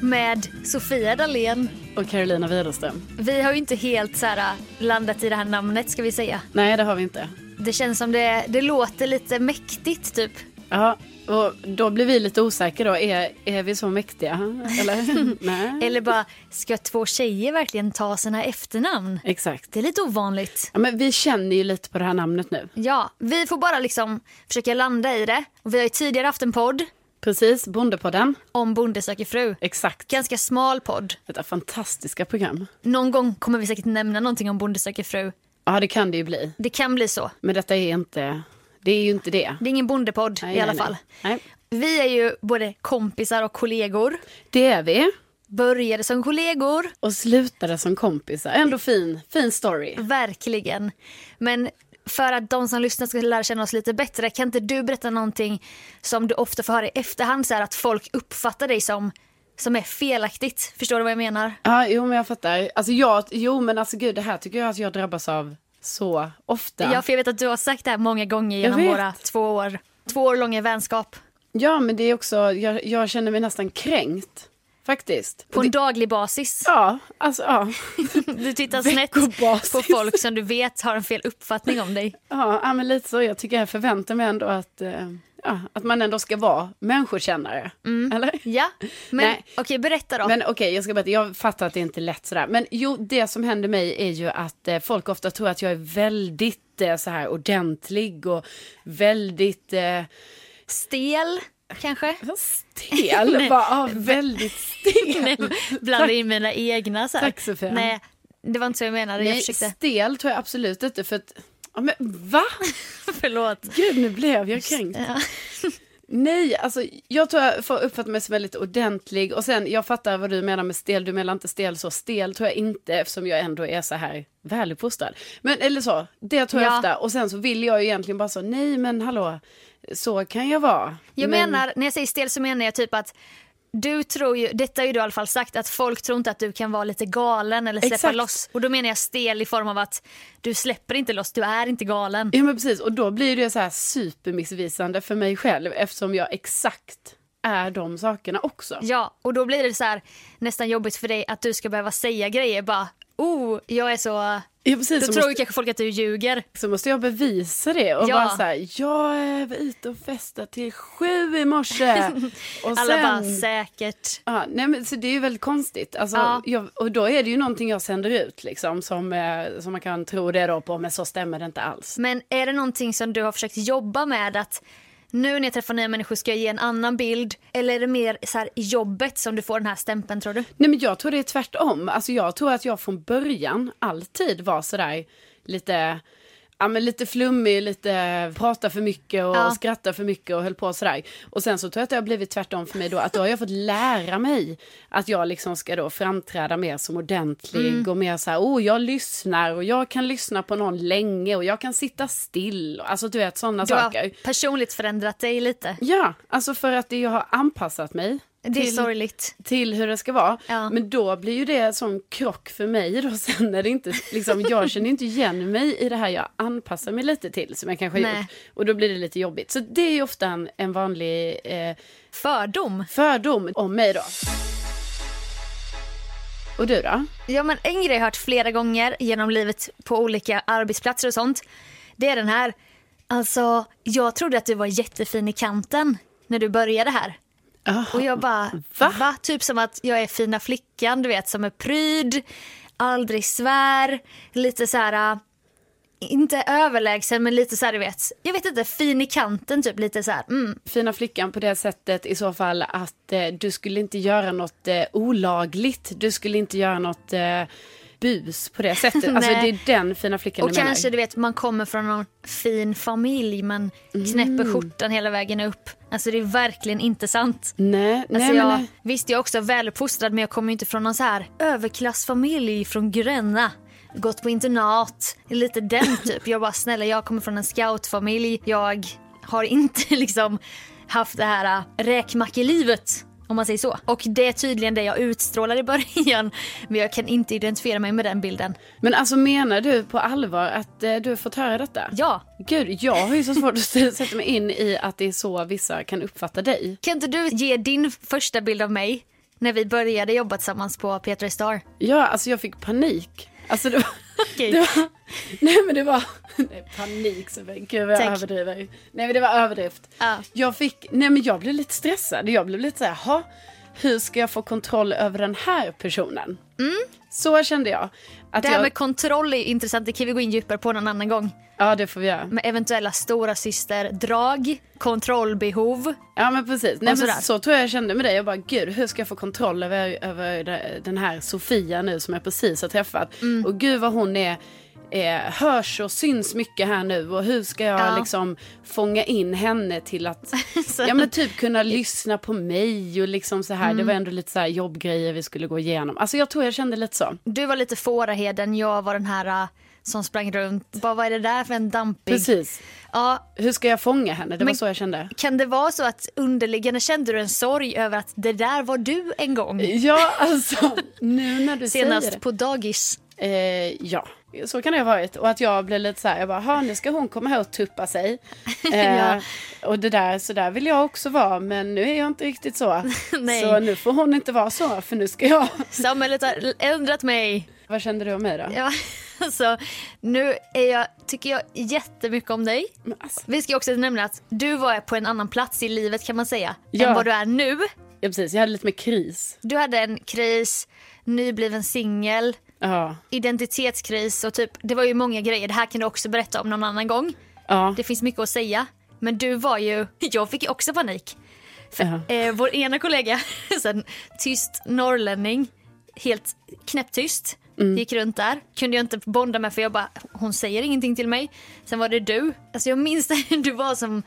med Sofia Dalén. och Carolina Widerström. Vi har ju inte helt så här, äh, landat i det här namnet ska vi säga. Nej, det har vi inte. Det känns som det, det låter lite mäktigt typ. Ja, och då blir vi lite osäkra då. Är, är vi så mäktiga? Eller? Nej. Eller bara, ska två tjejer verkligen ta sina efternamn? Exakt. Det är lite ovanligt. Ja, men vi känner ju lite på det här namnet nu. Ja, vi får bara liksom försöka landa i det. Och vi har ju tidigare haft en podd Precis, Bondepodden. om Bonde söker fru. Exakt. Ganska smal podd. Detta fantastiska program. Någon gång kommer vi säkert nämna någonting om Bonde söker fru. Ja, det kan det ju bli. Det kan bli så. Men detta är inte... Det är ju inte det. Det är ingen bondepodd Nej, i alla nej, fall. Nej. Nej. Vi är ju både kompisar och kollegor. Det är vi. Började som kollegor. Och slutade som kompisar. Ändå fin, fin story. Verkligen. Men för att de som lyssnar ska lära känna oss lite bättre, kan inte du berätta någonting som du ofta får höra i efterhand, så här att folk uppfattar dig som, som är felaktigt? Förstår du vad jag menar? Ja, jo men jag fattar. Alltså jag, jo men alltså gud det här tycker jag att jag drabbas av så ofta. Ja, för jag vet att du har sagt det här många gånger genom vet. våra två år, två år långa vänskap. Ja men det är också, jag, jag känner mig nästan kränkt. Faktiskt. På en daglig basis. Ja, alltså ja. Du tittar snett Veckobasis. på folk som du vet har en fel uppfattning om dig. Ja, ja men lite så. Jag tycker jag förväntar mig ändå att, eh, ja, att man ändå ska vara människokännare. Mm. Eller? Ja, men Nej. okej, berätta då. Men okej, jag ska berätta. Jag fattar att det inte är lätt sådär. Men jo, det som händer mig är ju att eh, folk ofta tror att jag är väldigt eh, så här ordentlig och väldigt eh, Stel, kanske? stel. Bara, ja, väldigt stel. Blanda in mina egna. Så här. Tack, Sofia. Nej, det var inte så jag menade. Jag Nej, försökte. stel tror jag absolut inte för att, ja, men va? Förlåt. Gud, nu blev jag kränkt. Ja. Nej, alltså jag tror jag får uppfatta mig som väldigt ordentlig och sen jag fattar vad du menar med stel, du menar inte stel så, stel tror jag inte eftersom jag ändå är så här väluppfostrad. Men eller så, det tror jag Ja. ofta och sen så vill jag ju egentligen bara så, nej men hallå, så kan jag vara. Jag men, menar, när jag säger stel så menar jag typ att du tror ju, detta har ju du i alla fall sagt, att folk tror inte att du kan vara lite galen eller släppa Exakt. loss. Och då menar jag stel i form av att du släpper inte loss, du är inte galen. Ja men precis, och då blir det så här supermissvisande för mig själv eftersom jag exakt är de sakerna också. Ja, och då blir det så här nästan jobbigt för dig att du ska behöva säga grejer bara, oh, jag är så... Ja, precis, Då så tror ju kanske folk att du ljuger. så måste jag bevisa det och Ja. bara så här, jag var ute och festade till sju i morse. Och Alla bara sen- säkert. Ja, nej men så det är ju väldigt konstigt. Alltså, Ja. jag, och då är det ju någonting jag sänder ut liksom som, eh, som man kan tro det då på, men så stämmer det inte alls. Men är det någonting som du har försökt jobba med att nu när jag träffar nya människor ska jag ge en annan bild eller är det mer så här i jobbet som du får den här stämpeln tror du? Nej men jag tror det är tvärtom. Alltså jag tror att jag från början alltid var sådär lite, ja men lite flummig, lite prata för mycket och Ja. skratta för mycket och höll på sådär. Och sen så tror jag att det har blivit tvärtom för mig då, att då har jag fått lära mig att jag liksom ska då framträda mer som ordentlig Mm. och mer såhär, oh jag lyssnar och jag kan lyssna på någon länge och jag kan sitta still. Alltså du vet sådana Du saker. har personligt förändrat dig lite. Ja, alltså för att det- jag har anpassat mig Det är till- sorgligt. till hur det ska vara. Ja. Men då blir ju det en sån krock för mig då sen när det inte, liksom, jag känner inte igen mig i det här jag anpassar mig lite till som jag kanske har Nej. gjort. Och då blir det lite jobbigt. Så det är ju ofta en, en vanlig eh, Fördom. fördom om mig då. Och du då? Ja, men en grej jag har hört flera gånger genom livet på olika arbetsplatser och sånt. Det är den här. Alltså, jag trodde att du var jättefin i kanten när du började här. Och jag bara, Va? va? Typ som att jag är fina flickan, du vet, som är pryd, aldrig svär, lite så här... äh, Inte överlägsen, men lite så här, du vet. Jag vet inte, fin i kanten, typ lite så här. Mm. Fina flickan på det sättet i så fall att eh, du skulle inte göra något eh, olagligt. Du skulle inte göra något eh, bus på det sättet. alltså det Nej. är den fina flickan Och du kanske, menar. du vet, man kommer från någon fin familj, men Mm. knäpper skjortan hela vägen upp. Alltså, det är verkligen inte sant. Nej, nej, Alltså men, jag, nej. visst, jag är också väluppfostrad men jag kommer ju inte från någon så här överklassfamilj från Gränna. Gått på internat, lite den typ. Jag bara snälla jag kommer från en scoutfamilj. Jag har inte liksom haft det här äh, räkmackelivet om man säger så. Och det är tydligen det jag utstrålar i början men jag kan inte identifiera mig med den bilden. Men alltså menar du på allvar att eh, du har fått höra detta? Ja, Gud, jag har ju så svårt att s- sätta mig in i att det är så vissa kan uppfatta dig. kan inte du ge din första bild av mig när vi började jobba tillsammans på Petra Star? Ja, alltså jag fick panik. Alltså det var... Okej. Det var nej men det var... Nej, panik, så men gud vad jag Tack. överdriver. Nej men det var överdrift. Ja. Jag fick... Nej men jag blev lite stressad. Jag blev lite så här, "Ha, hur ska jag få kontroll över den här personen? Så kände jag. Att Mm. Det här jag... med kontroll är ju intressant, det kan vi gå in djupare på någon annan gång. Ja, det får vi göra. med eventuella stora syster, drag, kontrollbehov. Ja men precis. Nej, sådär. men så tror jag jag kände med dig. Jag bara gud hur ska jag få kontroll över, över de- den här Sofia nu som jag precis har träffat. Mm. Och gud vad hon är eh, hörs och syns mycket här nu och hur ska jag Ja. liksom fånga in henne till att Så- ja, men typ kunna lyssna på mig och liksom så här. Det Mm. var ändå lite så här jobbgrejer vi skulle gå igenom. Alltså jag tror jag kände lite så. Du var lite fåraheden, jag var den här äh, som sprang runt. Bara, vad är det där för en dampig? Precis. Ja, Hur ska jag fånga henne? Det var Men- så jag kände. kan det vara så att underliggande kände du en sorg över att det där var du en gång? Ja alltså nu när du säger det. Senast på dagis. Eh, ja, så kan det ha varit. Och att jag blev lite så här, jag bara, "Ha, nu ska hon komma här och tuppa sig. Eh, Ja. Och det där, så där vill jag också vara, men nu är jag inte riktigt så. Nej. Så nu får hon inte vara så, för nu ska jag... Samhället har ändrat mig. Vad kände du om mig då? Ja, alltså, nu är jag, tycker jag jättemycket om dig. Men alltså, Vi ska också nämna att du var på en annan plats i livet kan man säga, Ja. än vad du är nu. ja, precis, jag hade lite mer kris. Du hade en kris, nybliven singel, Ja, identitetskris och typ, det var ju många grejer. Det här kan du också berätta om någon annan gång. ja, Det finns mycket att säga. Men du var ju, jag fick ju också panik. ja. Eh, vår ena kollega, så en tyst norrlänning, helt knäpptyst, gick runt där. Kunde jag inte bonda med för jag bara, hon säger ingenting till mig. Sen var det du. Alltså jag minns när du var som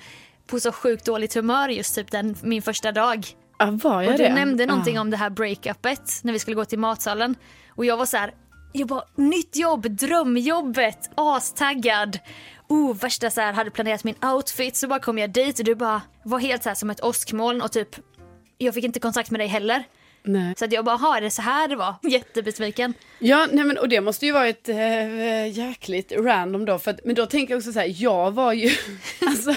på så sjukt dåligt humör just typ den, min första dag. ja var jag Och det? Ah. du nämnde någonting ja. om det här breakupet när vi skulle gå till matsalen. Och jag var så här, jag bara nytt jobb, drömjobbet, astaggad. Oh, värsta så här, hade planerat min outfit så bara kom jag dit och du bara var helt så här som ett åskmoln och typ jag fick inte kontakt med dig heller. Nej. Så att jag bara, har det så här det var? Jättebesviken. Ja, nej men, och det måste ju varit eh, jäkligt random då. För att, men då tänker jag också så här, jag var ju, alltså,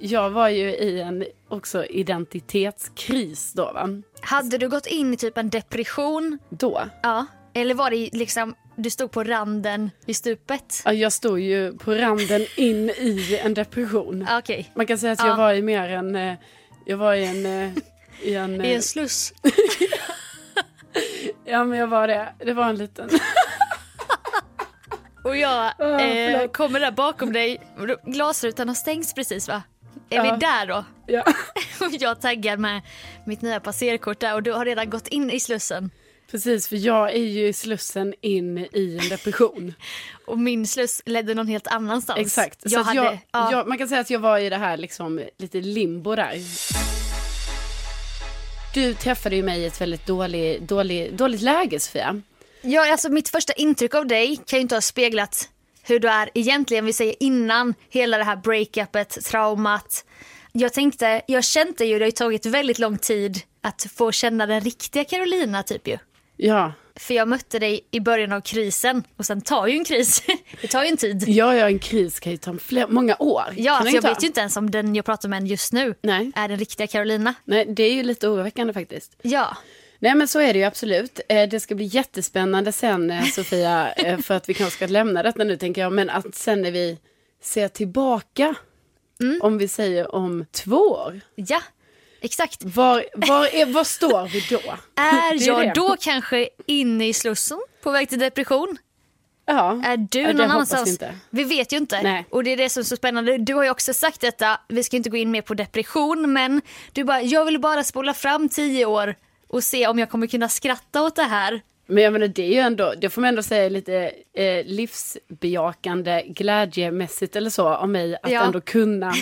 jag var ju i en också identitetskris då va? Hade du gått in i typ en depression? Då. Ja. Eller var det liksom, du stod på randen i stupet? Ja, Jag stod ju på randen in i en depression. Ja, Okej. Man kan säga att Ja. jag var i mer en, eh, jag var i en, eh, i en, I eh, en sluss. ja men jag var det, det var en liten, Och jag Ja, eh, Ah, förlåt. kommer där bakom dig. Glasrutan har stängts precis va? Är Ja. vi där då? ja. Och jag taggar med mitt nya passerkort där och du har redan gått in i Slussen. Precis, för jag är ju i slussen in i en depression. Och min sluss ledde någon helt annanstans. Exakt. Jag så att hade, jag, ja, jag, man kan säga att jag var i det här liksom, lite limbo där. Du träffade ju mig i ett väldigt dålig, dålig, dåligt läge Sofia. Ja, alltså mitt första intryck av dig kan ju inte ha speglat hur du är egentligen. Vi säger innan hela det här breakupet, traumat. Jag tänkte, jag kände ju, det har ju tagit väldigt lång tid att få känna den riktiga Carolina typ ju. Ja, För jag mötte dig i början av krisen och sen tar ju en kris, det tar ju en tid. ja, ja en kris kan ju ta fler, många år. Ja, kan den alltså jag ta? vet ju inte ens om den jag pratar med just nu Nej. är den riktiga Carolina. Nej, det är ju lite oroväckande faktiskt. Ja, Nej men så är det ju absolut. Eh, Det ska bli jättespännande sen eh, Sofia, eh, för att vi kanske ska lämna detta nu tänker jag, men att sen när vi ser tillbaka, Mm. om vi säger om två år, ja, exakt. var, var, är, var står vi då? Mm. Det Är är jag det. då kanske inne i slussen på väg till depression? Ja, Är du Ja, det hoppas någon vi annanstans? inte. Vi vet ju inte. Nej. Och det är det som är så spännande. Du har ju också sagt detta, vi ska inte gå in mer på depression, men du bara, jag vill bara spola fram tio år och se om jag kommer kunna skratta åt det här. Men jag menar det är ju ändå, det får man ändå säga är lite eh, livsbejakande, glädjemässigt eller så av mig att Ja. ändå kunna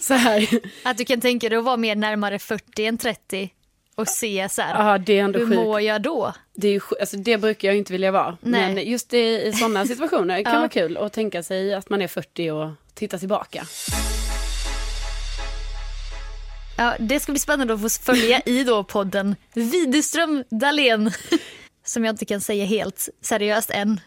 så här, Att du kan tänka dig att vara mer närmare 40 än 30 och se så här, ja det är ändå hur sjukt. mår jag då? Det, är ju, sj- alltså, det brukar jag inte vilja vara. Nej. Men just i, i sådana situationer kan vara kul att tänka sig att man är 40 och titta tillbaka. Ja, det ska bli spännande att få följa i då podden Widerström Dahlén. Som jag inte kan säga helt seriöst än.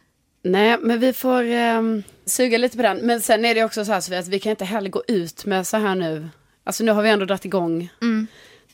Nej, men vi får ehm, suga lite på den. Men sen är det också så här Sofia, att vi kan inte heller gå ut med så här nu. Alltså nu har vi ändå dragit igång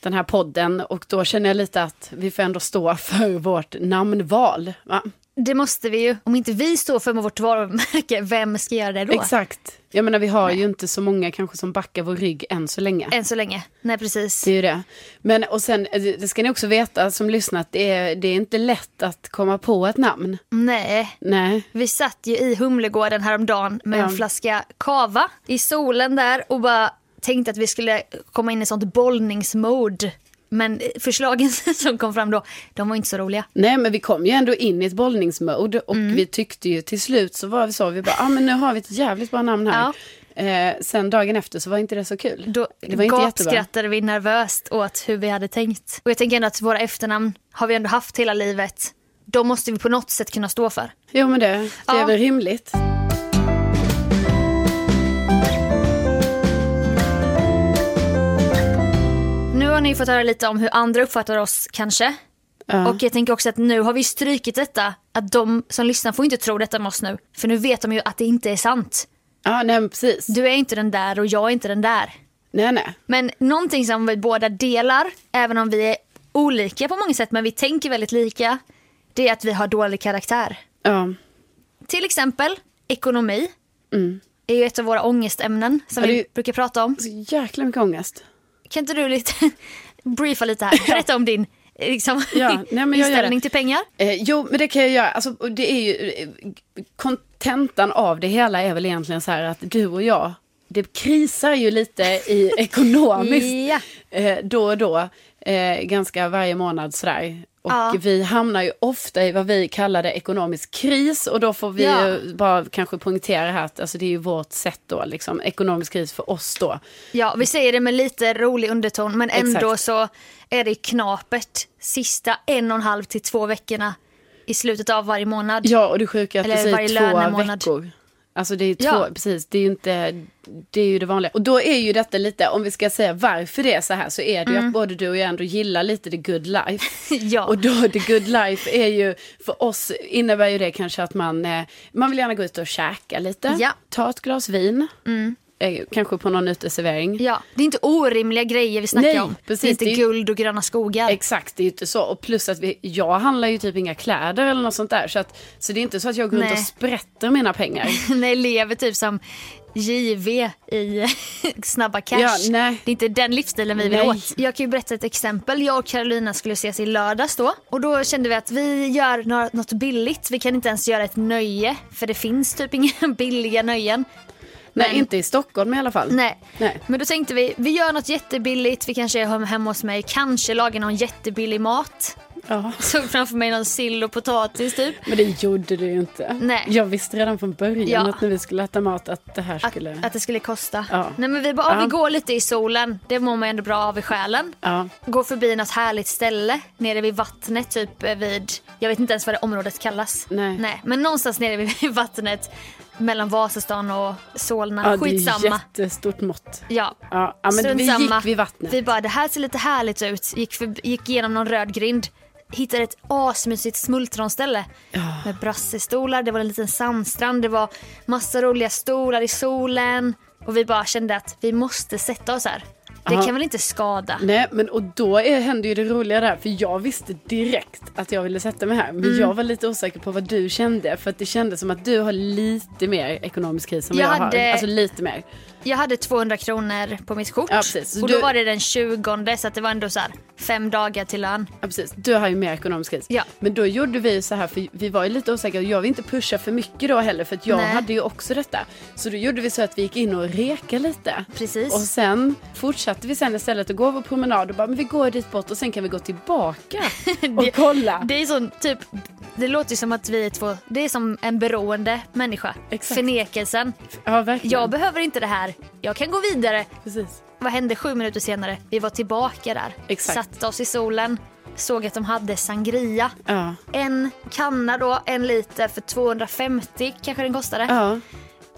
den här podden och då känner jag lite att vi får ändå stå för vårt namnval. Va? Det måste vi ju. Om inte vi står för med vårt varumärke, vem ska göra det då? Exakt. Jag menar vi har ju inte så många kanske som backar vår rygg än så länge. Än så länge. Nej, precis. Det är ju det. Men och sen, eh, det ska ni också veta som lyssnar, att det är, det är inte lätt att komma på ett namn. Nej. Nej. Vi satt ju i Humlegården häromdagen med Ja. en flaska kava i solen där och bara tänkte att vi skulle komma in i sånt bollningsmode. Men förslagen som kom fram då, de var inte så roliga. Nej, men vi kom ju ändå in i ett bollningsmode och Mm. vi tyckte ju till slut så var vi så, vi bara, ah, men nu har vi ett jävligt bra namn här. Eh, sen dagen efter så var inte det så kul. Då det var inte jättebra. gapskrattade vi nervöst åt hur vi hade tänkt. Och jag tänker ändå att våra efternamn har vi ändå haft hela livet. De måste vi på något sätt kunna stå för. Jo, men det, det är Ja. väl rimligt. Nu har ni fått höra lite om hur andra uppfattar oss kanske. Ja. Och jag tänker också att nu har vi strykit detta. Att de som lyssnar får inte tro detta med oss nu. För nu vet de ju att det inte är sant. Ja, nej, men precis. Du är inte den där och jag är inte den där. Nej, nej. Men någonting som vi båda delar, även om vi är olika på många sätt men vi tänker väldigt lika, det är att vi har dålig karaktär. Ja. Till exempel ekonomi. Mm. är ju ett av våra ångestämnen som Ja, det är vi ju- brukar prata om. Så jäkla mycket ångest. Kan inte du lite briefa lite här? Berätta om din eh, liksom, Ja, nej, men jag gör inställning det. till pengar. Eh, jo, men det kan jag göra. Alltså, och det är ju, eh, kontentan av det hela är väl egentligen så här att du och jag, det krisar ju lite i ekonomiskt Ja. eh, då och då, eh, ganska varje månad sådär. Och Ja. vi hamnar ju ofta i vad vi kallar det ekonomisk kris och då får vi Ja. ju bara kanske poängtera här att alltså, det är ju vårt sätt då, liksom, ekonomisk kris för oss då. Ja, vi säger det med lite rolig underton men ändå Exakt. så är det knapert sista en och en halv till två veckorna i slutet av varje månad. Ja, och det sjuka är att Eller du varje säger två lönemånad. veckor. Alltså det är två, Ja. precis, det är ju inte, det är ju det vanliga. Och då är ju detta lite, om vi ska säga varför det är så här, så är det Mm. ju att både du och jag ändå gillar lite the good life. Ja. Och då the good life är ju, för oss innebär ju det kanske att man, eh, man vill gärna gå ut och käka lite, Ja. Mm. ta ett glas vin, eh, kanske på någon uteservering. Ja, det är inte orimliga grejer vi snackar Nej, om. precis, det är inte det är ju- guld och gröna skogar. Exakt, det är ju inte så. Och plus att vi, jag handlar ju typ inga kläder eller något sånt där. Så, att, så det är inte så att jag går runt Nej. och sprätter mina pengar. Nej, lever typ som JV i Snabba Cash. Ja, nej. Det är inte den livsstilen vi vill Nej. åt. Jag kan ju berätta ett exempel. Jag och Carolina skulle ses i lördags då. Och då kände vi att vi gör nå- något billigt. Vi kan inte ens göra ett nöje. För det finns typ inga billiga nöjen. Nej, Men- inte i Stockholm i alla fall. Nej. Nej. Men då tänkte vi, vi gör något jättebilligt. Vi kanske är hem- hemma hos mig. Kanske lagar någon jättebillig mat. Ja. Såg framför mig någon sill och potatis typ. Men det gjorde du ju inte. Nej. Jag visste redan från början Ja. att när vi skulle äta mat att det här Att, skulle... att det skulle kosta. Ja. Nej men vi bara, Ja. vi går lite i solen. Det mår man ändå bra av i själen. Ja. Går förbi något härligt ställe nere vid vattnet, typ eh, vid Jag vet inte ens vad det området kallas. Nej. Men någonstans nere vid vattnet mellan Vasastan och Solna. Ja, det är Skitsamma. jättestort mått. Ja. Ja, ja men Strunt vi gick samma. vid vattnet. Vi bara, det här ser lite härligt ut. Gick, för, gick genom någon röd grind. Hittade ett asmysigt smultronställe med brassestolar, det var en liten sandstrand, det var massa roliga stolar i solen. Och vi bara kände att vi måste sätta oss här. Det Ja. kan väl inte skada? Nej, men och då är, hände ju det roliga där, för jag visste direkt att jag ville sätta mig här. Men Mm. jag var lite osäker på vad du kände, för att det kändes som att du har lite mer ekonomisk kris än vad jag, Jag har. hade- Alltså lite mer. Jag hade 200 kronor på mitt kort Ja, precis. Så och då du- var det den 20 så att det var ändå så här, fem dagar till lön. Ja, precis. Du har ju mer ekonomisk kris. Ja. Men då gjorde vi så här, för vi var ju lite osäkra och jag vill inte pusha för mycket då heller för att jag Nej. hade ju också detta. Så då gjorde vi så att vi gick in och reka lite. Precis. Och sen fortsatte vi sen istället att gå vår promenad och bara, men vi går dit bort och sen kan vi gå tillbaka och Det- kolla. Det är som typ, det låter ju som att vi är två, det är som en beroende människa. Exakt. Förnekelsen. Ja, verkligen. Jag behöver inte det här, jag kan gå vidare. Precis. Vad hände sju minuter senare? Vi var tillbaka där. Exakt. Satte oss i solen, såg att de hade sangria. Ja. En kanna då, en liter för 250 kanske den kostade. Ja.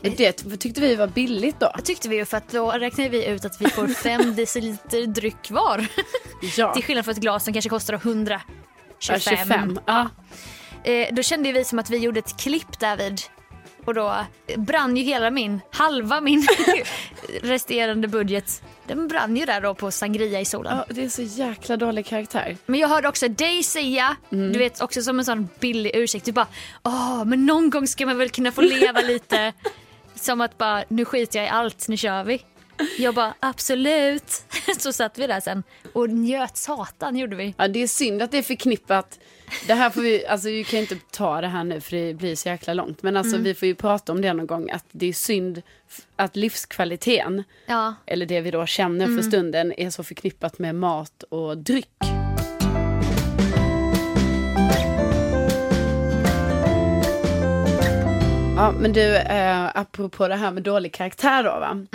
Det tyckte vi var billigt då. tyckte vi ju för att då räknade vi ut att vi får fem deciliter dryck var. Ja. Till skillnad från ett glas som kanske kostar 100. Ja, 25. 25. Ja. Eh, då kände ju vi som att vi gjorde ett klipp därvid. Och då brann ju hela min, halva min resterande budget. Den brann ju där då på sangria i solen. ja, det är så jäkla dålig karaktär. Men jag hörde också dig säga, Mm. du vet också som en sån billig ursäkt, du bara åh men någon gång ska man väl kunna få leva lite. som att bara nu skiter jag i allt, nu kör vi. Jag bara absolut. Så satt vi där sen och njöt satan gjorde vi. Ja, det är synd att det är förknippat. Det här får vi, alltså vi kan ju inte ta det här nu för det blir så jäkla långt. Men alltså vi får ju prata om det någon gång att det är synd f- att livskvaliteten, Ja, eller det vi då känner för stunden, är så förknippat med mat och dryck. Ja, men du, eh, apropå det här med dålig karaktär då va.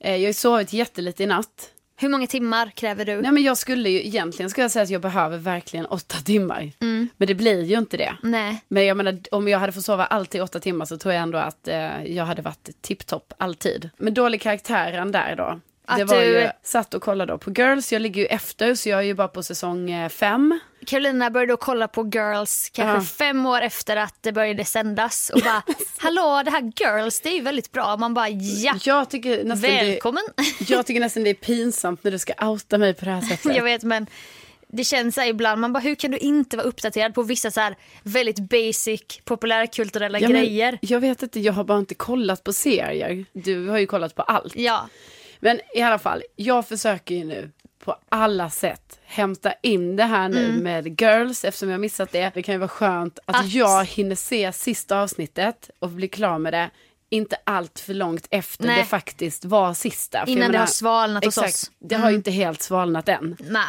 Eh, jag har ju sovit jättelite i natt. hur många timmar kräver du? Nej men jag skulle ju, egentligen skulle jag säga att jag behöver verkligen åtta timmar. Men det blir ju inte det. Nej. Men jag menar, om jag hade fått sova alltid åtta timmar så tror jag ändå att eh, jag hade varit tipptopp alltid. Men dålig karaktären där då. Att det var du- ju, satt och kollade då på Girls, jag ligger ju efter så jag är ju bara på säsong eh, fem. Carolina började då kolla på Girls kanske Ja. fem år efter att det började sändas och bara hallå det här Girls det är ju väldigt bra. Och Man bara ja, Jag tycker nästan det, välkommen. jag tycker nästan det är pinsamt när du ska outa mig på det här sättet. Jag vet men det känns så här ibland, man bara hur kan du inte vara uppdaterad på vissa så här väldigt basic populärkulturella Ja, men grejer? jag vet inte, jag har bara inte kollat på serier. Du har ju kollat på allt. Ja, Men i alla fall, jag försöker ju nu på alla sätt hämta in det här nu med Girls eftersom jag missat det. Det kan ju vara skönt att, Mm. Att- jag hinner se sista avsnittet och bli klar med det. Inte allt för långt efter Nej. det faktiskt var sista. För jag Innan det har svalnat hos exakt, oss. Mm. Det har ju inte helt svalnat än. nej.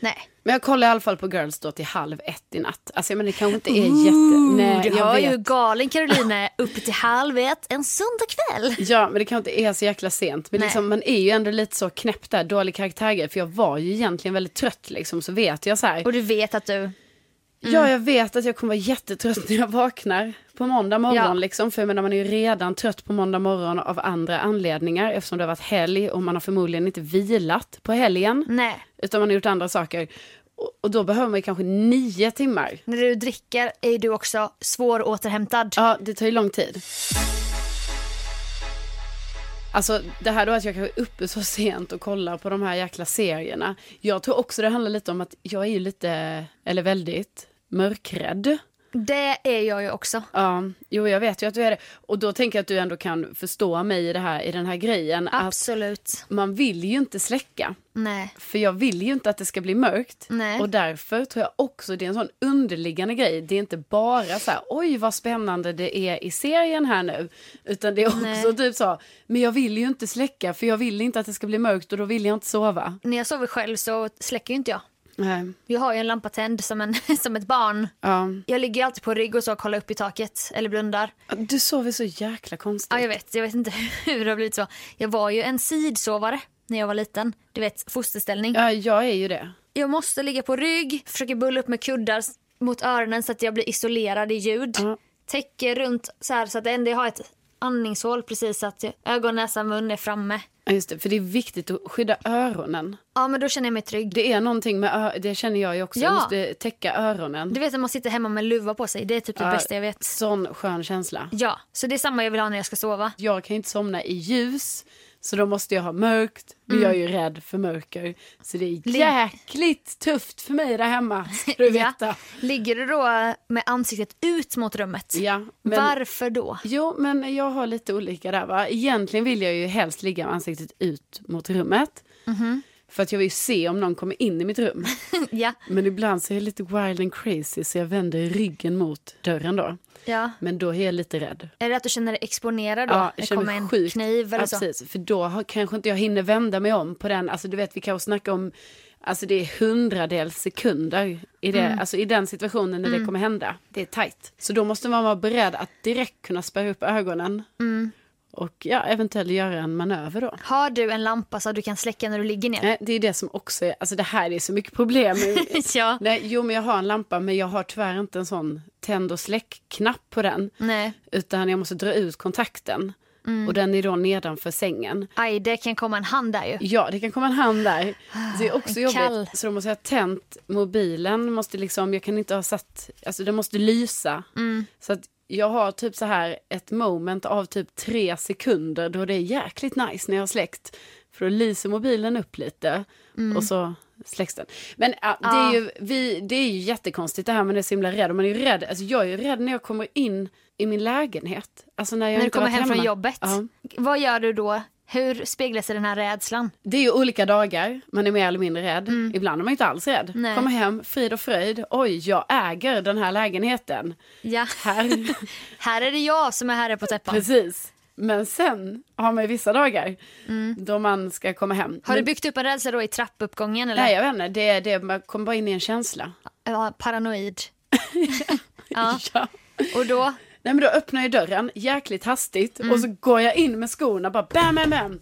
Nej, Men jag kollar i alla fall på Girls då till halv ett i natt. Alltså men det kanske inte är jätte... Nej, du Eh, jag hör ju vet. hur galen Caroline är uppe till halv ett en söndagkväll. Ja, men det kanske inte är så jäkla sent. Men Nej. liksom, man är ju ändå lite så knäpp där, dålig karaktärgrej. För jag var ju egentligen väldigt trött liksom, så vet jag så här. Och Mm. du vet att du, Ja, jag vet att jag kommer vara jättetrött när jag vaknar på måndag morgon. Ja. Liksom, för jag menar, man är ju redan trött på måndag morgon av andra anledningar. Eftersom det har varit helg och man har förmodligen inte vilat på helgen. nej. Utan man har gjort andra saker. Och, och då behöver man ju kanske nio timmar. När du dricker är du också svåråterhämtad. Ja, det tar ju lång tid. Alltså det här då att jag kanske är uppe så sent och kollar på de här jäkla serierna. Jag tror också det handlar lite om att jag är ju lite, eller väldigt, mörkrädd. Det är jag ju också. Ja, jo jag vet ju att du är det. Och då tänker jag att du ändå kan förstå mig i, det här, i den här grejen. Att Absolut. man vill ju inte släcka. Nej. För jag vill ju inte att det ska bli mörkt. Nej. Och därför tror jag också det är en sån underliggande grej. Det är inte bara så här, oj vad spännande det är i serien här nu. Utan det är också Nej. typ så, men jag vill ju inte släcka för jag vill inte att det ska bli mörkt och då vill jag inte sova. När jag sover själv så släcker ju inte jag. Nej. Jag har ju en lampa tänd som, en, som ett barn. Ja. Jag ligger ju alltid på rygg och så och kollar upp i taket eller blundar. Du sover så jäkla konstigt. Ja, jag vet. Jag vet inte hur det har blivit så. Jag var ju en sidsovare när jag var liten. Du vet, fosterställning. ja, jag är ju det. Jag måste ligga på rygg, försöker bulla upp med kuddar, mot öronen så att jag blir isolerad i ljud. Ja. Täcker runt så här så att det enda jag har är ett andningshål precis så att ögon, näsa, mun är framme. Ja, Just det, för det är viktigt att skydda öronen. Ja men då känner jag mig trygg. Det är någonting med ö- det känner jag ju också. Jag Ja. måste täcka öronen. Du vet när man sitter hemma med luva på sig, det är typ det Ja. bästa jag vet. Sån skön känsla. Ja, så det är samma jag vill ha när jag ska sova. Jag kan ju inte somna i ljus, så då måste jag ha mörkt. Men jag är ju rädd för mörker. Så det är jäkligt tufft för mig där hemma, ska du veta. Ja. Ligger du då med ansiktet ut mot rummet? Ja, men- Varför då? Jo, men jag har lite olika där va. Egentligen vill jag ju helst ligga med ansiktet ut mot rummet. För att jag vill ju se om någon kommer in i mitt rum. Ja, Men ibland så är jag lite wild and crazy så jag vänder ryggen mot dörren då. ja. Men då är jag lite rädd. Är det att du känner dig exponerad då? Ja, det jag känner kommer mig en sjukt. kniv eller ja, så? Precis, för då har, kanske inte jag hinner vända mig om på den. Alltså du vet, vi kan ju snacka om, alltså det är hundradels sekunder i, det, Mm. alltså, i den situationen när det kommer hända. Det är tajt. Så då måste man vara beredd att direkt kunna spärra upp ögonen. Mm. Och ja, eventuellt göra en manöver då. Har du en lampa så att du kan släcka när du ligger ner? Nej, det är det som också är, alltså det här är så mycket problem. ja. Nej, jo men jag har en lampa men jag har tyvärr inte en sån tänd och släck-knapp på den. Nej. Utan jag måste dra ut kontakten. Och den är då nedanför sängen. Aj, det kan komma en hand där ju. Ja, det kan komma en hand där. Det är också jobbigt. Kall. Så då måste jag ha tänt mobilen. Måste liksom, jag kan inte ha satt, alltså den måste lysa. Mm. Så att jag har typ så här ett moment av typ tre sekunder då det är jäkligt nice när jag har släckt. För då lyser mobilen upp lite Mm. och så släcks den. Men ja, det, är ju, vi, det är ju jättekonstigt det här med det är så himla rädd. Och Man är ju rädd, alltså jag är ju rädd när jag kommer in i min lägenhet. Alltså när jag När du inte kommer varit hem från hemma. jobbet. Ja. Vad gör du då? Hur speglar sig den här rädslan? Det är ju olika dagar, man är mer eller mindre rädd. Ibland är man inte alls rädd. Mm. Nej. Kommer hem, frid och fröjd. Oj, jag äger den här lägenheten. Ja. Här. här är det jag som är herre på täppan. Precis. Men sen har man ju vissa dagar då man ska komma hem. Mm. Har du Men- byggt upp en rädsla då i trappuppgången? Eller? Nej, jag vet inte. Det, är- det, är- man kommer bara in i en känsla. Ja, paranoid. ja. Ja. Och då? Nej, men då öppnar jag dörren jäkligt hastigt Mm. och så går jag in med skorna bara bam, bam, bam.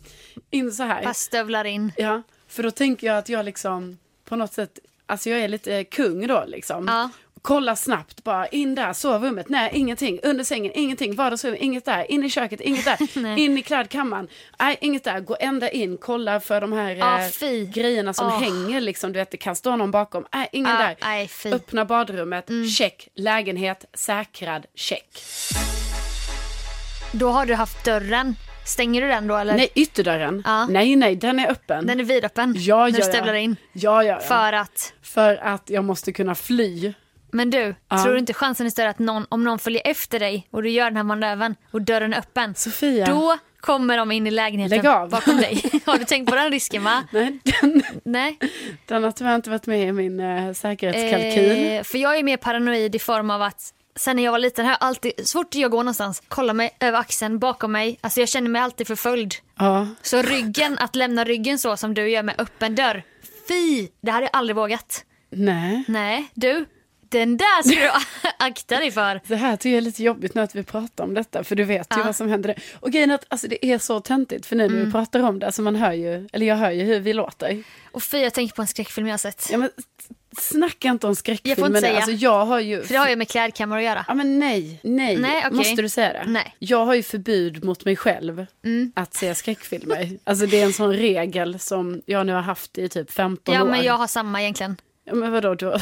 In så här. Fast stövlar in. Ja, för då tänker jag att jag liksom på något sätt, alltså jag är lite kung då liksom. Ja. Kolla snabbt bara, in där, sovrummet, nej ingenting, under sängen, ingenting, vardagsrummet, inget där, in i köket, inget där, Nej. in i klädkammaren, nej inget där, gå ända in, kolla för de här Ah, eh, fy. grejerna som Ah. hänger liksom, du vet det kan stå någon bakom, nej ingen Ah, där. nej, fy. Mm. Öppna badrummet, check, lägenhet, säkrad, check. Då har du haft dörren. Stänger du den då eller? Nej, ytterdörren, Ja. nej nej, den är öppen. Den är vidöppen ja, när ja, du ja. stövlar in. Ja, ja, ja. För att, För att jag måste kunna fly. men du, tror du inte chansen är större att någon, om någon följer efter dig och du gör den här manövern och dörren är öppen, Sofia. då kommer de in i Lägg av. lägenheten bakom dig. Har du tänkt på den risken va? Nej, den, Nej. den har tyvärr inte varit med i min eh, säkerhetskalkyl. Eh, för jag är mer paranoid i form av att sen när jag var liten har jag alltid, så fort jag går någonstans, kollar mig över axeln bakom mig. Alltså jag känner mig alltid förföljd. Ja. Så ryggen, att lämna ryggen så som du gör med öppen dörr. Fy, det hade jag aldrig vågat. Nej. Nej, du. Den där ska du akta dig för. Det här tycker jag är lite jobbigt nu att vi pratar om detta, för du vet ju Ja. Mm. vad som händer. där. Och grejen är att alltså, det är så töntigt, för nu när vi pratar om det, alltså, man hör ju, eller jag hör ju hur vi låter. Och fy, jag tänker på en skräckfilm jag har sett. Ja, men, s- snacka inte om skräckfilm, Jag får inte men säga. alltså, jag har ju... För det har ju med klädkammor att göra. Ja men nej, nej. Nej, okej. Måste du säga det? Nej. Mm. Jag har ju förbud mot mig själv att se skräckfilmer. alltså det är en sån regel som jag nu har haft i typ 15 Ja, år. men jag har samma egentligen. Ja, Men vadå, du,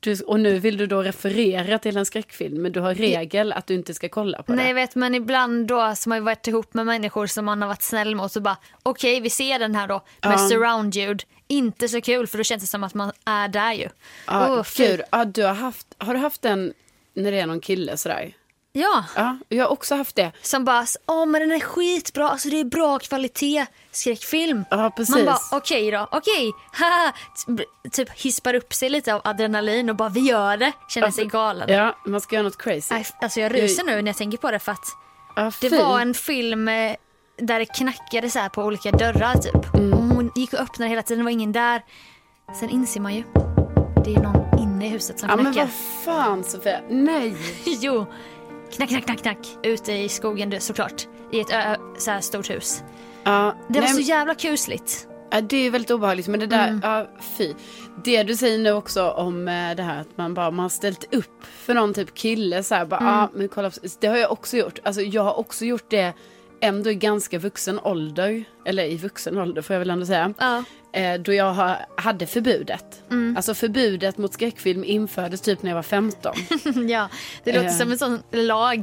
du, och nu vill du då referera till en skräckfilm, men du har regel att du inte ska kolla på Nej, jag det. vet, men ibland då som har jag varit ihop med människor som man har varit snäll mot och bara okej, vi ser den här då med surround-ljud. Inte så kul för då känns det som att man är där ju. Ja, Åh, fy. gud, ja, du har, haft, har du haft den när det är någon kille sådär? Ja, Ja, jag har också haft det. som bara åh men den är skitbra, alltså det är bra kvalitet skräckfilm. Ja, precis. Man bara okej då, okej, haha. T- Typ hispar upp sig lite av adrenalin och bara vi gör det. Känner sig galen. Ja, man ska göra något crazy. Nej, Alltså jag ryser nu när jag tänker på det för att Ja, Det fy. var en film eh, där det knackade så här på olika dörrar typ. Mm. Och hon gick och öppnade hela tiden, det var ingen där. Sen inser man ju, det är ju någon inne i huset som Ja, men knackar. vad fan Sofia, nej. jo, knack, knack, knack, knack. Ute i skogen du, såklart. I ett ö, ö- så här stort hus. Ja, Det var nej, så jävla kusligt. Ja, det är väldigt obehagligt. Men det där, Mm. ja fy. Det du säger nu också om eh, det här att man bara man har ställt upp för någon typ kille så här, bara, Mm. ja, men kolla, på- det har jag också gjort. Alltså jag har också gjort det ändå i ganska vuxen ålder, eller i vuxen ålder får jag väl ändå säga. Ja. Mm. Eh, då jag ha, hade förbudet. Alltså förbudet mot skräckfilm infördes typ när jag var 15. ja, det låter Eh. som en sån lag.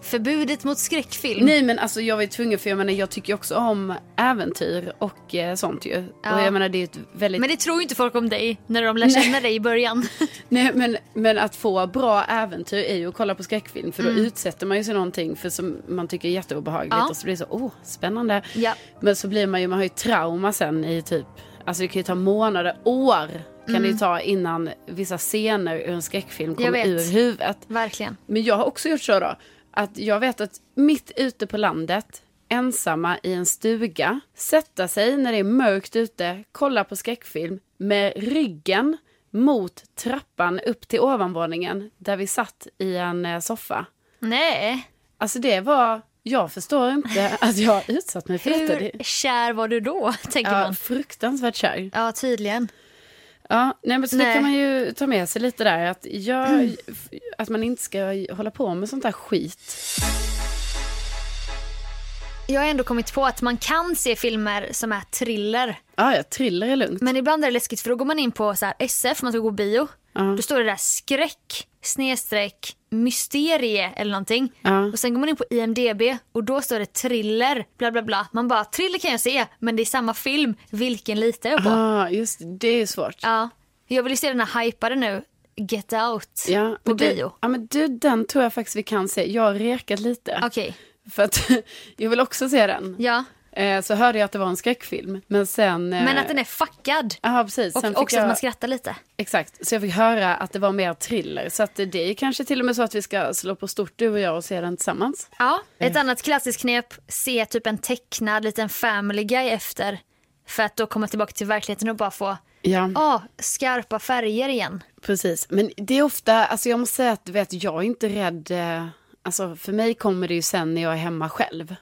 Förbudet mot skräckfilm. Nej men alltså jag var ju tvungen för jag menar jag tycker ju också om äventyr och eh, sånt ju. Ja. Och jag menar det är ju ett väldigt Men det tror ju inte folk om dig när de lär känna dig i början. Nej, men, men att få bra äventyr är ju att kolla på skräckfilm för då utsätter man ju sig någonting för som man tycker är jätteobehagligt Mm. Ja. och så blir det så, åh, oh, spännande. Ja. Men så blir man ju, man har ju trauma sen i typ, alltså det kan ju ta månader, år kan det ju ta innan vissa scener ur en skräckfilm Mm. Jag kommer vet. ur huvudet. Verkligen. Men jag har också gjort så då, att jag vet att mitt ute på landet, ensamma i en stuga, sätta sig när det är mörkt ute, kolla på skräckfilm med ryggen mot trappan upp till ovanvåningen där vi satt i en eh, soffa. Nej. Alltså det var, jag förstår inte att jag utsatt mig för detta. Det- Hur kär var du då, tänker Ja, man. fruktansvärt kär. Ja, tydligen. Ja, nej men så det Nej. Mm. kan man ju ta med sig lite där, att, jag, att man inte ska hålla på med sånt där skit. Jag har ändå kommit på att man kan se filmer som är thriller. Ja, ja, thriller är lugnt. Men ibland är det läskigt för då går man in på så här SF, man ska gå bio. Då står det där skräck, snedstreck, mysterie eller någonting. Ja. Och sen går man in på IMDB och då står det thriller, bla bla bla. Man bara, thriller kan jag se, men det är samma film, vilken litar jag på? ah, just det. det, är svårt. Ja. Jag vill ju se den här hypade nu, Get Out, Ja, på men du, bio. Ja, men du, den tror jag faktiskt vi kan se. Jag har rekat lite. Okej, För att jag vill också se den. ja. Eh, så hörde jag att det var en skräckfilm. Men sen... eh, Men att den är fuckad. Ja, precis. Och Sen fick också att jag, man skrattar lite. Exakt. Så jag fick höra att det var mer thriller. Så att det är kanske till och med så att vi ska slå på stort du och jag och se den tillsammans. Ja, ett annat klassiskt knep, se typ en tecknad liten family guy efter. För att då komma tillbaka till verkligheten och bara få Ja, ah, skarpa färger igen. precis. Men det är ofta, alltså jag måste säga att du vet, jag är inte rädd. Eh, alltså för mig kommer det ju sen när jag är hemma själv.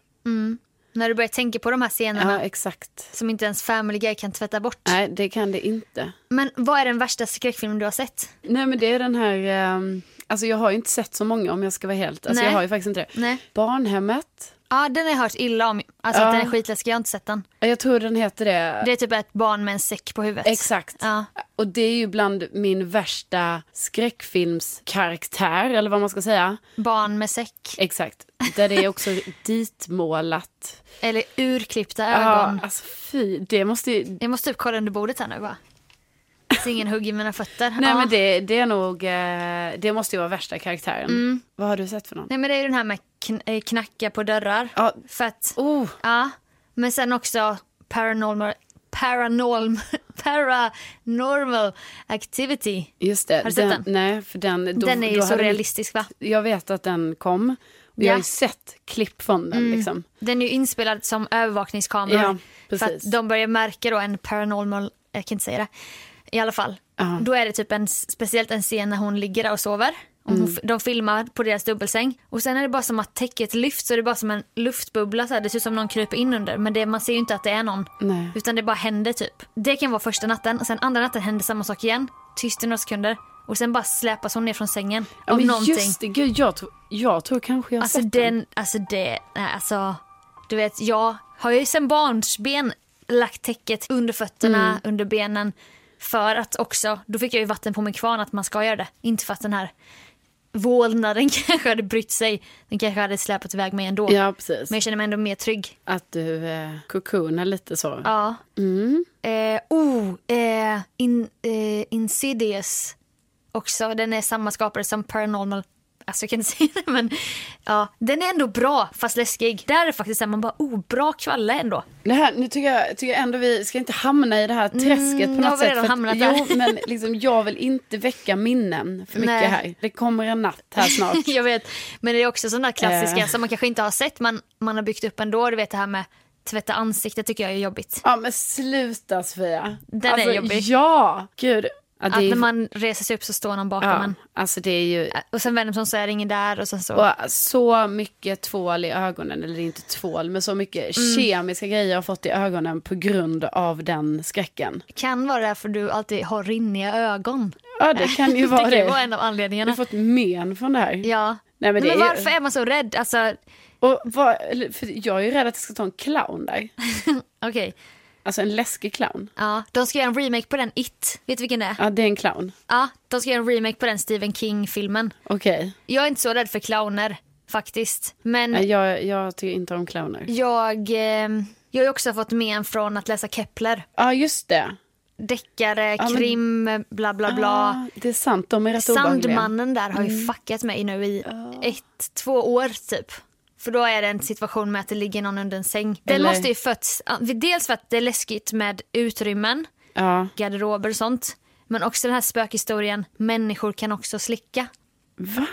När du börjar tänka på de här scenerna Ja, exakt. som inte ens family guy kan tvätta bort. Nej, det kan det inte. Men vad är den värsta skräckfilmen du har sett? Nej men det är den här, ehm, alltså jag har ju inte sett så många om jag ska vara helt, alltså Nej. jag har ju faktiskt inte det. Nej. Barnhemmet, Ja, den har jag hört illa om. Alltså Ja. att den är skitläskig, jag har inte sett den. jag tror den heter det. Det är typ ett barn med en säck på huvudet. Exakt. Ja. Och det är ju bland min värsta skräckfilmskaraktär, eller vad man ska säga. Barn med säck. Exakt. Där det är också ditmålat. Eller urklippta Ja, ögon. alltså fy, det måste ju... Jag måste typ kolla under bordet här nu bara. Så ingen hugger mina fötter. Nej Ja. men det, det är nog, eh, det måste ju vara värsta karaktären. Mm. Vad har du sett för någon? Nej men det är ju den här med kn- eh, knacka på dörrar. Ja. För att, Oh, ja. Men sen också paranormal, paranorm, paranormal activity. just det. Har du sett den? Nej, för den... då- den är ju då så hade vi- realistisk va? jag vet att den kom. Och jag Ja. Mm. har ju sett klipp från den. Liksom. Den är ju inspelad som övervakningskameror. Ja, precis. för att de börjar märka då en paranormal, jag kan inte säga det, i alla fall. Ja. Då är det typ en, speciellt en scen när hon ligger där och sover. Och hon, Mm. f- De filmar på deras dubbelsäng. Och sen är det bara som att täcket lyfts och det är bara som en luftbubbla. Så här. Det ser ut som någon kryper in under. Men det, man ser ju inte att det är någon. Nej. Utan det bara händer typ. Det kan vara första natten. Och sen andra natten händer samma sak igen. Tyst i några sekunder. Och sen bara släpas hon ner från sängen. Ja, av men någonting. just det, gud, jag, tror, jag tror kanske jag har Alltså sett den. den, alltså det, nej alltså. Du vet, jag har ju sedan barnsben lagt täcket under fötterna, Mm. under benen. För att också, då fick jag ju vatten på min kvarn att man ska göra det. Inte för att den här vålnaden kanske hade brytt sig. Den kanske hade släpat iväg mig ändå. Ja, precis. Men jag känner mig ändå mer trygg. Att du eh, kokonar lite så. Ja. Mm. Eh, oh, eh, in, eh, Insidious också. Den är samma skapare som Paranormal. Alltså jag kan inte säga det men ja, den är ändå bra fast läskig. Där är det faktiskt så här, man bara oh bra kvalle ändå. Det här, nu tycker jag, tycker jag ändå vi ska inte hamna i det här träsket Mm, på jag något har sätt. redan för hamnat jo, där. men liksom, jag vill inte väcka minnen för mycket Nej. här. Det kommer en natt här snart. jag vet, men det är också sådana klassiska Eh. som man kanske inte har sett men man har byggt upp ändå. Du vet det här med tvätta ansiktet tycker jag är jobbigt. Ja men sluta Sofia. Alltså, Den är jobbig. Ja, gud. Ja, det Att är- när man reser sig upp så står någon bakom Ja, en. alltså det är ju Och sen vänder man sig om så är det ingen där och sen så. och så mycket tvål i ögonen, eller inte tvål, men så mycket Mm. kemiska grejer jag har fått i ögonen på grund av den skräcken. Kan vara därför du alltid har rinniga ögon. Ja, det kan ju vara det kan vara det. en av Du har anledningarna. fått men från det här. Ja. Nej, men men, det är ju- varför är man så rädd? Alltså, Och vad, eller, för jag är ju rädd att jag ska ta en clown där. okej. Alltså en läskig clown. Ja, de ska göra en remake på den It. Vet du vilken det är? Ja, det är en clown. Ja, de ska göra en remake på den Stephen King-filmen. Okej. Jag är inte så rädd för clowner faktiskt. Men Nej, Jag, jag tycker inte om clowner. Ja, jag, eh, jag har ju också fått men från att läsa Kepler. just det. Deckare, men- krim, bla bla bla. Ah, det är sant, de är rätt obehagliga. Sandmannen där har ju Mm. fuckat mig nu i ett, två år typ. För då är det en situation med att det ligger någon under en säng. Den Eller- måste ju fötts, dels för att det är läskigt med utrymmen, Ja, garderober och sånt. Men också den här spökhistorien, människor kan också slicka. va?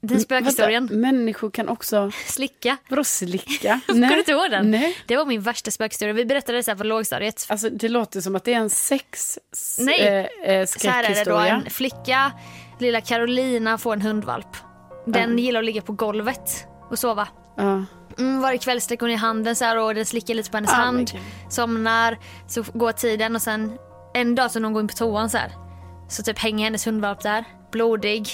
Den spökhistorien, Vänta, människor kan också, slicka. vadå slicka? Kommer du inte ihåg den? Nej. Det var min värsta spökhistoria. Vi berättade det så här på lågstadiet. Alltså det låter som att det är en sex s- Nej. eh, eh, Så här är det då. skräckhistoria. En flicka, lilla Carolina, får en hundvalp. Den gillar att ligga på golvet och sova. Ja. Mm, varje kväll sträcker hon i handen så här och den slickar lite på hennes Ah, men hand. Somnar, så går tiden och sen en dag så när hon går in på toan så här. Så typ hänger hennes hundvalp där, blodig.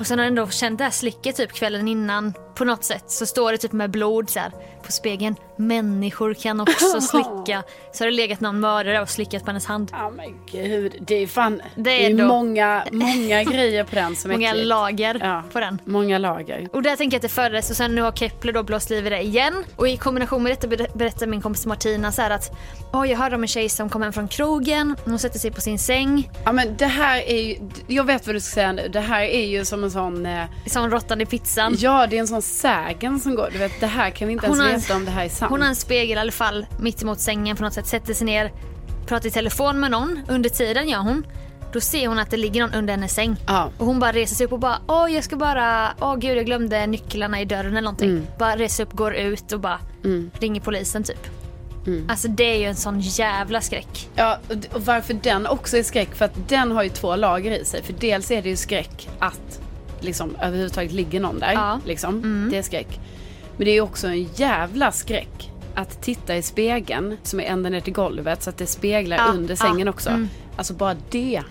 Och sen har den då känt det här slicket typ kvällen innan på något sätt. Så står det typ med blod så här på spegeln. Människor kan också slicka. Så har det legat någon mördare och slickat på hennes hand. Ja men gud, det är fan, det är är, ändå- många, många grejer på den som är Många äckligt. lager Ja. på den. Många lager. Och där tänker jag att det föddes och sen nu har Kepler då blåst liv i det igen. Och i kombination med detta ber- berättar min kompis Martina så här att Åh, jag hörde om en tjej som kom hem från krogen, hon sätter sig på sin säng, Ja men det här är ju, jag vet vad du ska säga nu, det här är ju som en sån, eh, som råttan i pizzan. ja det är en sån sägen som går, du vet det här kan vi inte ens Hon har en- veta om det här är sant. Hon har en spegel i alla fall mitt emot sängen på något sätt, sätter sig ner, pratar i telefon med någon. Under tiden gör hon. Då ser hon att det ligger någon under hennes säng. Ja. Och hon bara reser sig upp och bara åh jag ska bara, åh gud jag glömde nycklarna i dörren eller någonting. Bara reser sig upp, går ut och bara ringer polisen typ. Alltså det är ju en sån jävla skräck. Ja, och d- och varför den också är skräck, för att den har ju två lager i sig. För dels är det ju skräck att liksom överhuvudtaget ligger någon där. Ja. Mm. Liksom. Det är skräck. Men det är ju också en jävla skräck att titta i spegeln som är ända ner till golvet så att det speglar Ja, Mm. under sängen också. Alltså bara det.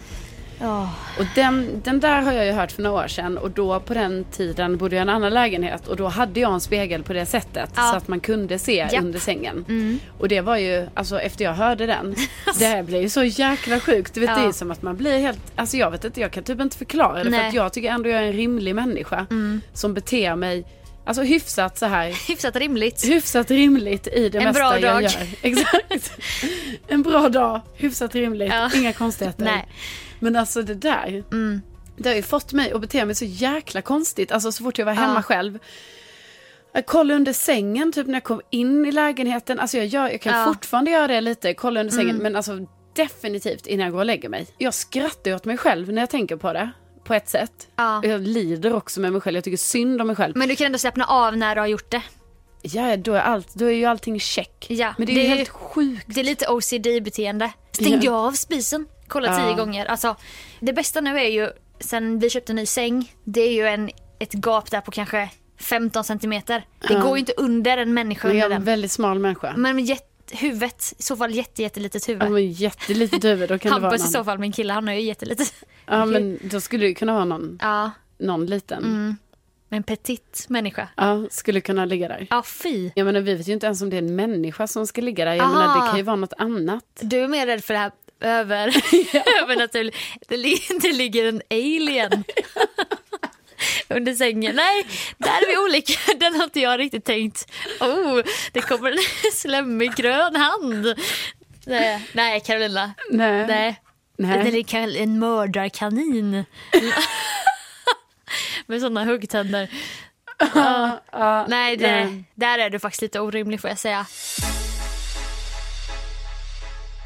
Och den, den där har jag ju hört för några år sedan och då på den tiden bodde jag i en annan lägenhet och då hade jag en spegel på det sättet Ja. så att man kunde se Japp. Mm. under sängen. Och det var ju, alltså efter jag hörde den, det här blev ju så jäkla sjukt. Du vet, Ja. Det är som att man blir helt, alltså jag vet inte, jag kan typ inte förklara det för Nej. Mm. att jag tycker ändå jag är en rimlig människa som beter mig, alltså hyfsat så här Hyfsat rimligt. Hyfsat rimligt i det En mesta bra jag dag. gör. Exakt. En bra dag, hyfsat rimligt, Ja. inga konstigheter. Nej. Men alltså det där, Mm. det har ju fått mig att bete mig så jäkla konstigt. Alltså så fort jag var hemma Ja. själv. Jag kollade under sängen typ när jag kom in i lägenheten. Alltså jag, gör, jag kan Ja. Mm. fortfarande göra det lite, kolla under sängen. Men alltså definitivt innan jag går och lägger mig. Jag skrattar ju åt mig själv när jag tänker på det. På ett sätt. Ja. Jag lider också med mig själv. Jag tycker synd om mig själv. Men du kan ändå slappna av när du har gjort det. Ja, då är, allt, då är ju allting check. Ja, men det är ju det är- helt sjukt. Det är lite OCD-beteende. Stängde jag av spisen? Kolla Ja. tio gånger. Alltså, det bästa nu är ju, sen vi köpte en ny säng, det är ju en, ett gap där på kanske 15 centimeter. Det går ju inte under en människa Men under jag är en den. Mm. väldigt smal människa. Men med jätt, huvudet, i så fall jätte, jättelitet Ja, huvud. men jättelitet huvud, då kan det vara Hampus i så någon. fall, min kille, han är ju jättelitet. Ja, men då skulle du kunna vara någon, Ja, någon liten. Mm. men petit människa. Ja, skulle kunna ligga där. Ja, fy. Jag menar, vi vet ju inte ens om det är en människa som ska ligga där. Jag Aha. menar, det kan ju vara något annat. Du är mer rädd för det här över, övernaturligt. Det, li- det ligger en alien under sängen. Nej, där är vi olika. Den har inte jag riktigt tänkt. Oh, det kommer en slemmig grön hand. Nej, nej Carolina. Nej. Nej. Nej. Det ligger en mördarkanin. Med sådana huggtänder. Ja. nej, det, nej. där är du faktiskt lite orimlig får jag säga.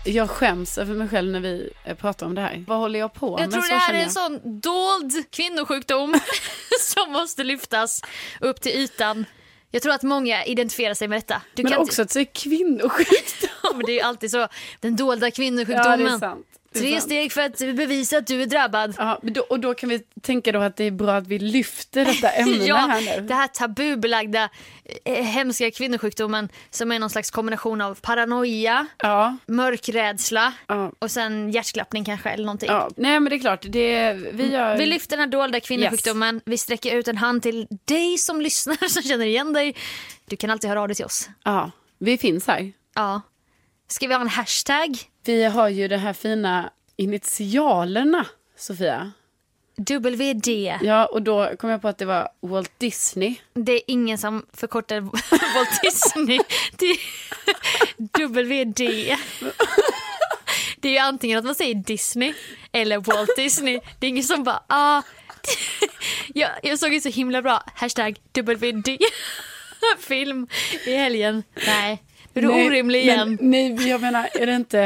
Jag skäms över mig själv när vi eh, pratar om det här. Vad håller jag på Jag med? tror Så det här känner är jag. en sån dold kvinnosjukdom som måste lyftas upp till ytan. Jag tror att många identifierar sig med detta. Du Men kan också att det är kvinnosjukt. inte, men det är ju alltid så. Den dolda Ja, det kvinnosjukdomen. är sant. Tre steg för att bevisa att du är drabbad. Ja, men då, och då kan vi tänka då att det är bra att vi lyfter detta ämne Ja, här nu. det här tabubelagda eh, hemska kvinnosjukdomen som är någon slags kombination av paranoia, Ja, mörkrädsla ja, och sen hjärtklappning kanske eller någonting. ja. Nej men det är klart, det, vi gör... Mm. Vi lyfter den här dolda kvinnosjukdomen. Vi sträcker ut en hand till dig som lyssnar som känner igen dig. Du kan alltid höra av dig till oss. Ja, vi finns här. Ja. Ska vi ha en hashtag? Vi har ju de här fina initialerna, Sofia. WD. Ja, och då kom jag på att det var Walt Disney. Det är ingen som förkortar Walt Disney till WD. Det är ju antingen att man säger Disney eller Walt Disney. Det är ingen som bara ah. Jag, jag såg ju så himla bra hashtag WD film i helgen. Nej, är du orimlig igen? Men, nej, jag menar, är det inte,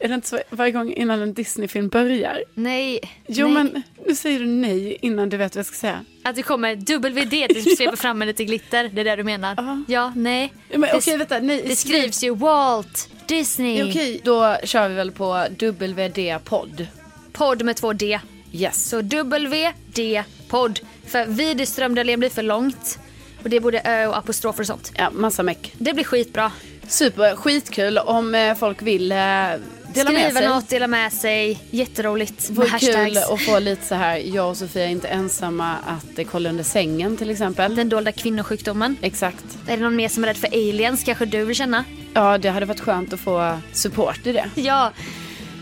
är det inte så varje gång innan en Disney-film börjar? Nej. Jo, nej. men nu säger du nej innan du vet vad jag ska säga. Att det kommer WD, att det sveper fram med lite glitter. Det är det du menar? Ja. Ja, nej. Ja, Men, det, okej, vänta, nej. det skrivs ju Walt Disney. Ja, Okej, då kör vi väl på WD-podd. Podd med två D. Yes. Så WD-podd. För Widerströmdalen blir för långt. Och det borde ö och apostrofer och sånt. Ja, massa meck. Det blir skitbra. Super, skitkul om eh, folk vill eh, dela med Skriva sig. något, dela med sig. Jätteroligt. Det vore Med kul hashtags. att få lite så här, jag och Sofia är inte ensamma att eh, kolla under sängen till exempel. Den dolda kvinnosjukdomen. Exakt. Är det någon mer som är rädd för aliens? Kanske du vill känna? Ja, det hade varit skönt att få support i det. Ja,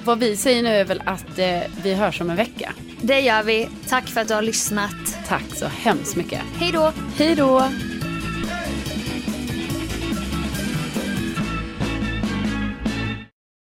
Vad vi säger nu är väl att eh, vi hörs om en vecka. det gör vi. Tack för att du har lyssnat. Tack så hemskt mycket. Hej då! Hej då!